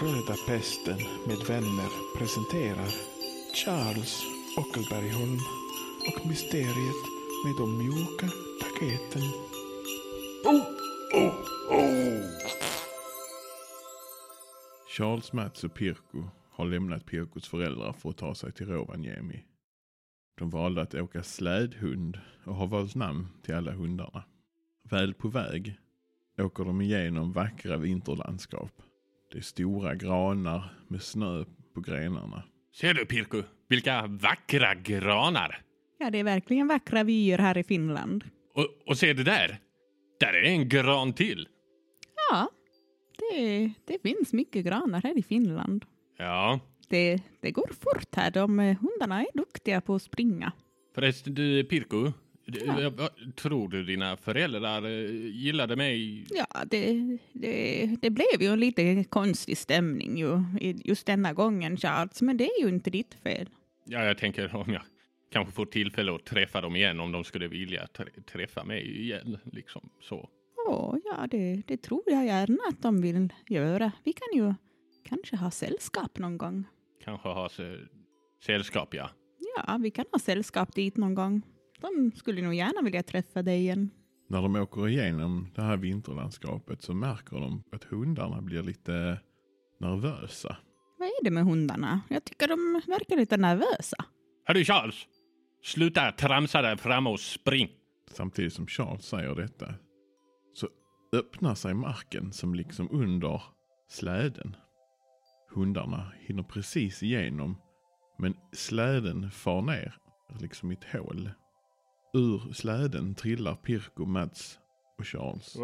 Röda Pesten med vänner presenterar Charles Ockelbergholm och Mysteriet med de mjuka paketen. Charles, Mats och Pirko har lämnat Pirkos föräldrar för att ta sig till Rovaniemi. De valde att åka slädhund och har valt namn till alla hundarna. Väl på väg åker de igenom vackra vinterlandskap. Det är stora granar med snö på grenarna. Ser du Pirko, vilka vackra granar! Ja, det är verkligen vackra vyer här i Finland. Och, och se det där! Där är en gran till! Ja, det, det finns mycket granar här i Finland. Ja, Det, det går fort här. De eh, hundarna är duktiga på att springa. förresten du Pirko, du, Ja. jag- jag- tror du dina föräldrar eh, gillade mig? Ja, det, det, det blev ju en lite konstig stämning ju, i- just denna gången, Charles. Men det är ju inte ditt fel. Ja, jag tänker om jag kanske får tillfälle att träffa dem igen om de skulle vilja trä- träffa mig igen, liksom så. Åh, ja, det, det tror jag gärna att de vill göra. Vi kan ju kanske ha sällskap någon gång. Kanske ha se- sällskap, ja. Ja, vi kan ha sällskap dit någon gång. De skulle nog gärna vilja träffa dig igen. När de åker igenom det här vinterlandskapet så märker de att hundarna blir lite nervösa. Vad är det med hundarna? Jag tycker de verkar lite nervösa. Hördu Charles! Sluta tramsa där framme och spring! Samtidigt som Charles säger detta så öppnar sig marken som liksom under släden. Hundarna hinner precis igenom men släden far ner liksom i ett hål. Ur släden trillar Pirko, Mats och Charles.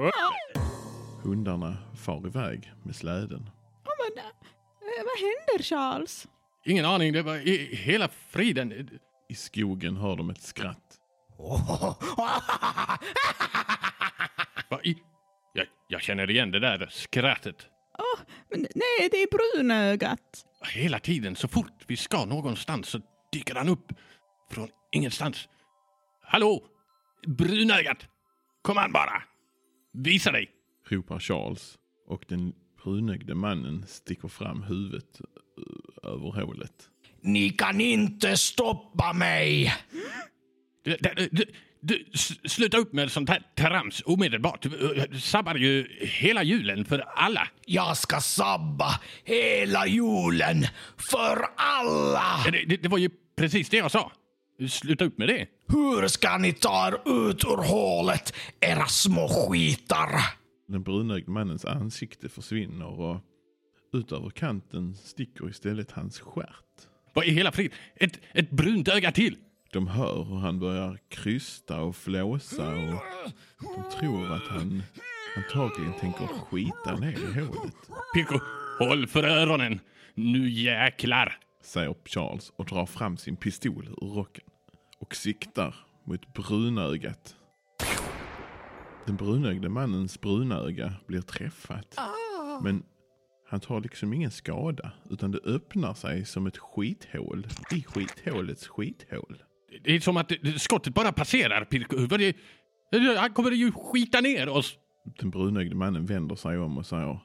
Hundarna far iväg med släden. Oh, men, eh, vad händer, Charles? Ingen aning, det var i, hela friden. I skogen hör de ett skratt. Va, i, jag, jag känner igen det där skrattet. Åh, men, nej, det är brunögat. Hela tiden, så fort vi ska någonstans så dyker han upp från ingenstans. Hallå! Brunögat! Kom an bara! Visa dig! ropar Charles och den brunögde mannen sticker fram huvudet eh, över hålet. Ni kan inte stoppa mig! Du, du, du, du, s- sluta upp med sånt här trams omedelbart. Du eh, sabbar ju hela julen för alla. Jag ska sabba hela julen för alla! Ja, Det, det, det var ju precis det jag sa. Sluta upp med det. Hur ska ni ta er ut ur hålet, era små skitar? Den brunögde mannens ansikte försvinner och utöver kanten sticker istället hans stjärt. Vad i hela frid? Ett, ett brunt öga till! De hör hur han börjar krysta och flåsa och de tror att han antagligen tänker skita ner i hålet. Pirko, håll för öronen! Nu jäklar! Säger Charles och drar fram sin pistol ur rocken och siktar mot brunögat. Den brunögde mannens brunöga blir träffat. Men han tar liksom ingen skada utan det öppnar sig som ett skithål i skithålets skithål. Det är som att eh, skottet bara passerar, Pirko. Vad det- eh, Han kommer ju skita ner oss! Den brunögde mannen vänder sig om och säger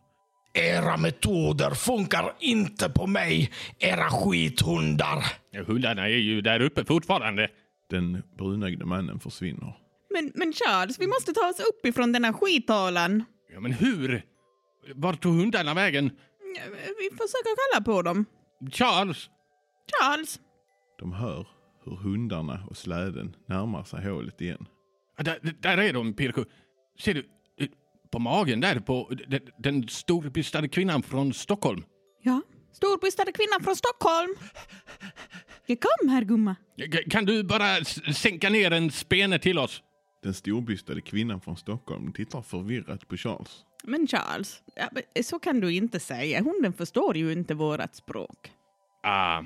Era metoder funkar inte på mig, era skithundar. Ja, Hundarna är ju där uppe fortfarande. den brunögde mannen försvinner. Men, men Charles, vi måste ta oss upp ifrån denna skithålan. Ja, men hur? Vart tog hundarna vägen? Eh, Vi försöker kalla på dem. Charles! Charles! De hör hur hundarna och släden närmar sig hålet igen. Ja, Där, där är de, Pirko. Ser du? eh, På magen där, på den, den storbystade kvinnan från Stockholm. Ja? Storbystade kvinnan från Stockholm! Ja, kom här, gumma. K- Kan du bara s- sänka ner en spene till oss? Den storbystade kvinnan från Stockholm tittar förvirrat på Charles. Men Charles, ja, men eh, så kan du inte säga. Hunden förstår ju inte vårt språk. Ah,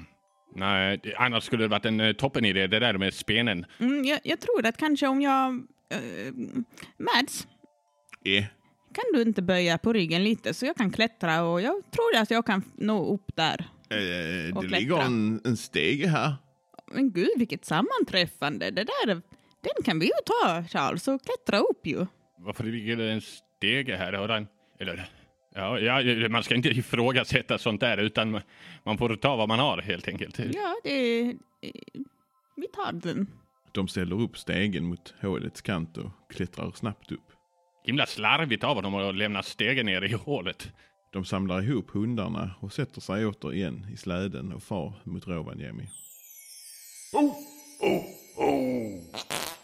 nej, det- annars skulle det varit en eh, toppen idé, det där med spenen. Mm, jag, jag tror att kanske om jag... Äh, Mads, Eh, kan du inte böja på ryggen lite så jag kan klättra och jag tror att jag kan nå upp där. Eh, Och det klättra. ligger en, en stege här. Men gud, vilket sammanträffande. Det där, den kan vi ju ta, Charles, och klättra upp ju. Varför ligger det en stege här? Har han, eller Ja, ja, man ska inte ifrågasätta sånt där utan man får ta vad man har helt enkelt. Ja, det... eh, Vi tar den. De ställer upp stegen mot hålets kant och klättrar snabbt upp. Himla slarvigt av dem att lämna stegen ner i hålet. De samlar ihop hundarna och sätter sig återigen i släden och far mot Rovaniemi. Oh, oh, oh.